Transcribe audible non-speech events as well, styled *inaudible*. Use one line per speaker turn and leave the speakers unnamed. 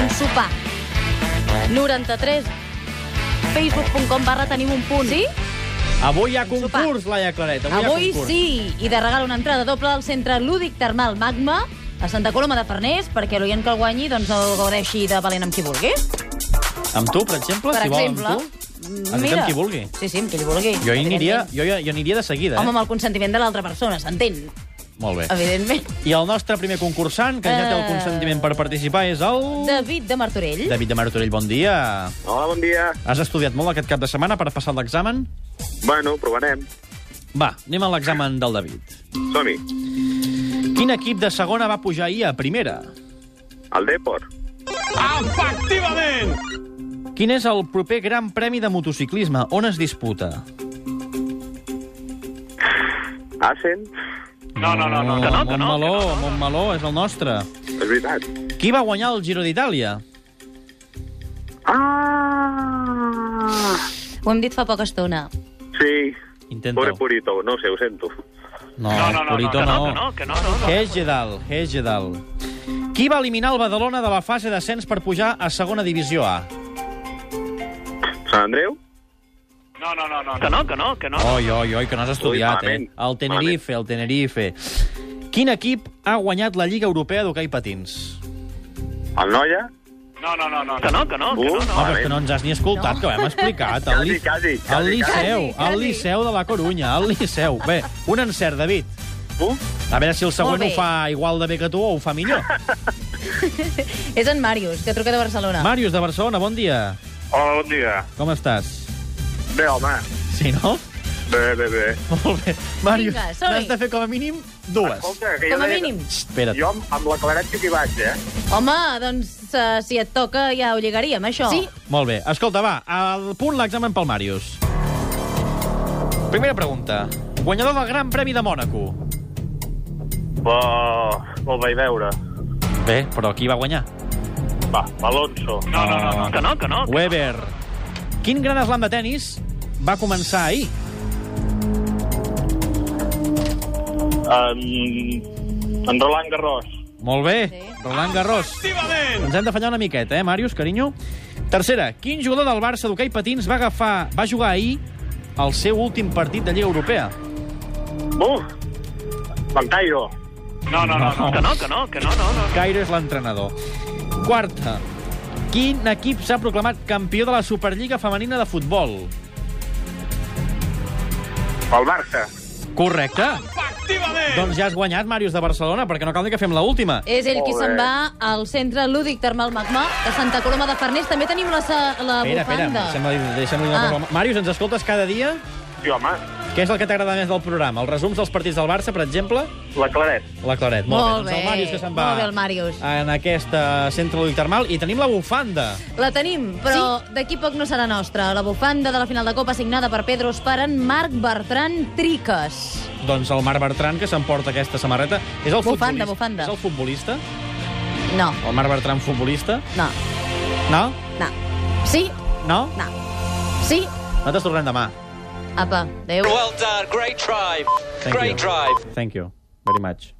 en sopar. 93 facebook.com barra tenim un punt. Sí?
Avui hi ha
Sopar.
concurs, Laia Claret. Avui, hi
Avui
ha concurs.
sí, i de regal una entrada doble al centre lúdic termal Magma a Santa Coloma de Farners, perquè l'oient que el guanyi doncs el gaudeixi de valent amb qui vulgui.
Amb tu, per exemple?
per
si vol,
exemple.
Amb tu? Ens amb qui vulgui.
Sí, sí, amb qui vulgui.
Jo hi aniria,
evidentment.
jo, hi- jo aniria de seguida,
Home,
eh?
amb el consentiment de l'altra persona, s'entén,
Molt bé.
evidentment.
I el nostre primer concursant, que ja té el
Eh.
consentiment per participar, és el...
David de Martorell.
David de Martorell, bon dia.
Hola, bon dia.
Has estudiat molt aquest cap de setmana per passar l'examen?
Bueno, provarem.
Va, anem a l'examen del David.
Som-hi.
Quin equip de segona va pujar ahir a primera?
Al Depor.
Quin és el proper gran premi de motociclisme? On es disputa?
Assen.
No, no, no, no, que no, que no.
Montmeló, Montmeló és el nostre.
És veritat.
Qui va guanyar el Giro d'Itàlia?
Ah!
Ho hem dit fa poca estona.
Sí.
Intenta-ho.
Pobre Purito. No ho sé, ho sento.
No,
No, no, no, no,
Purito
que no,
no.
que no, que no, no, no.
Hegedal, Hegedal. Qui va eliminar el Badalona de la fase d'ascens per pujar a segona divisió A?
Sant Andreu?
No, no, no, no, que no, que no, que no.
Oi, oi, oi, que no has estudiat,
Ui,
eh?
malament.
El Tenerife, el Tenerife. Quin equip ha guanyat la Lliga Europea d'Hockey Patins?
El Noia?
No, no, no, no, que no, que no, que no,
Uh,
No,
no.
però és que no ens has ni escoltat, no. que ho hem explicat. El,
Quasi,
Li-
quasi,
el
quasi,
Liceu,
quasi. Quasi,
el Liceu de la Corunya, el Liceu. Bé, un encert, David.
Uh,
A veure si el següent
Molt bé.
ho fa igual de bé que tu o ho fa
*laughs*
millor.
És en Màrius, que truca de Barcelona.
Màrius, de Barcelona, bon dia.
Hola, bon dia.
Com estàs?
bé, home.
Sí, no?
Bé, bé, bé.
Molt bé. Màrius,
Vinga, som-hi.
n'has de fer com a mínim dues.
Escolta, que
Com a
deia-
mínim.
Espera't.
Jo amb- amb la claret que hi vaig, eh?
Home, doncs eh, si et toca ja ho lligaríem, això. Sí.
Molt bé. Escolta, va, al punt l'examen pel Màrius. Primera pregunta. Guanyador del Gran Premi de Mònaco.
Oh, el vaig veure.
Bé, però qui va guanyar?
Va, Alonso.
No, no, no, no, que no, que no. que
Weber. Quin gran slam de tennis va començar ahir?
Um, en Roland Garros.
Molt bé,
Sí.
Roland Garros. Ens hem de fallar una miqueta, eh, Màrius, carinyo? Tercera, quin jugador del Barça d'hoquei patins va agafar, va jugar ahir el seu últim partit de Lliga Europea?
Buf! Bancairo.
No, no, no, no, que no, que no, que no, no, no.
Cairo és l'entrenador. Quarta, quin equip s'ha proclamat campió de la Superliga Femenina de Futbol?
El Barça.
Correcte. Doncs ja has guanyat, Màrius, de Barcelona, perquè no cal ni que fem l'última.
És ell qui
Molt
se'n
bé.
va al centre lúdic termal Magma de Santa Coloma de Farners. També tenim la, sa- la
Espera, espera,
bufanda.
deixa'm, deixa'm dir una
Ah.
ah. cosa. Màrius, ens escoltes cada dia?
Sí, home.
Què és el que t'agrada més del programa? Els resums dels partits del Barça, per exemple?
La claret.
La Claret. Molt,
Molt
bé. Doncs
bé.
el Màrius que se'n va
Molt bé, el Màrius.
en aquesta centre lúdic termal. I tenim la bufanda.
La tenim, però sí? d'aquí poc no serà nostra. La bufanda de la final de Copa signada per Pedros per en Marc Bertran Triques.
Doncs el Marc Bertran, que s'emporta aquesta samarreta. És el
Bufanda,
futbolista.
bufanda.
És el futbolista?
No,
El Marc Bertran, futbolista?
no,
No?
no. Sí?
No?
No. Sí?
Nosaltres tornem demà.
Apa, adéu.
Well done. Great drive.
Thank
Great
you.
drive.
Thank you very much.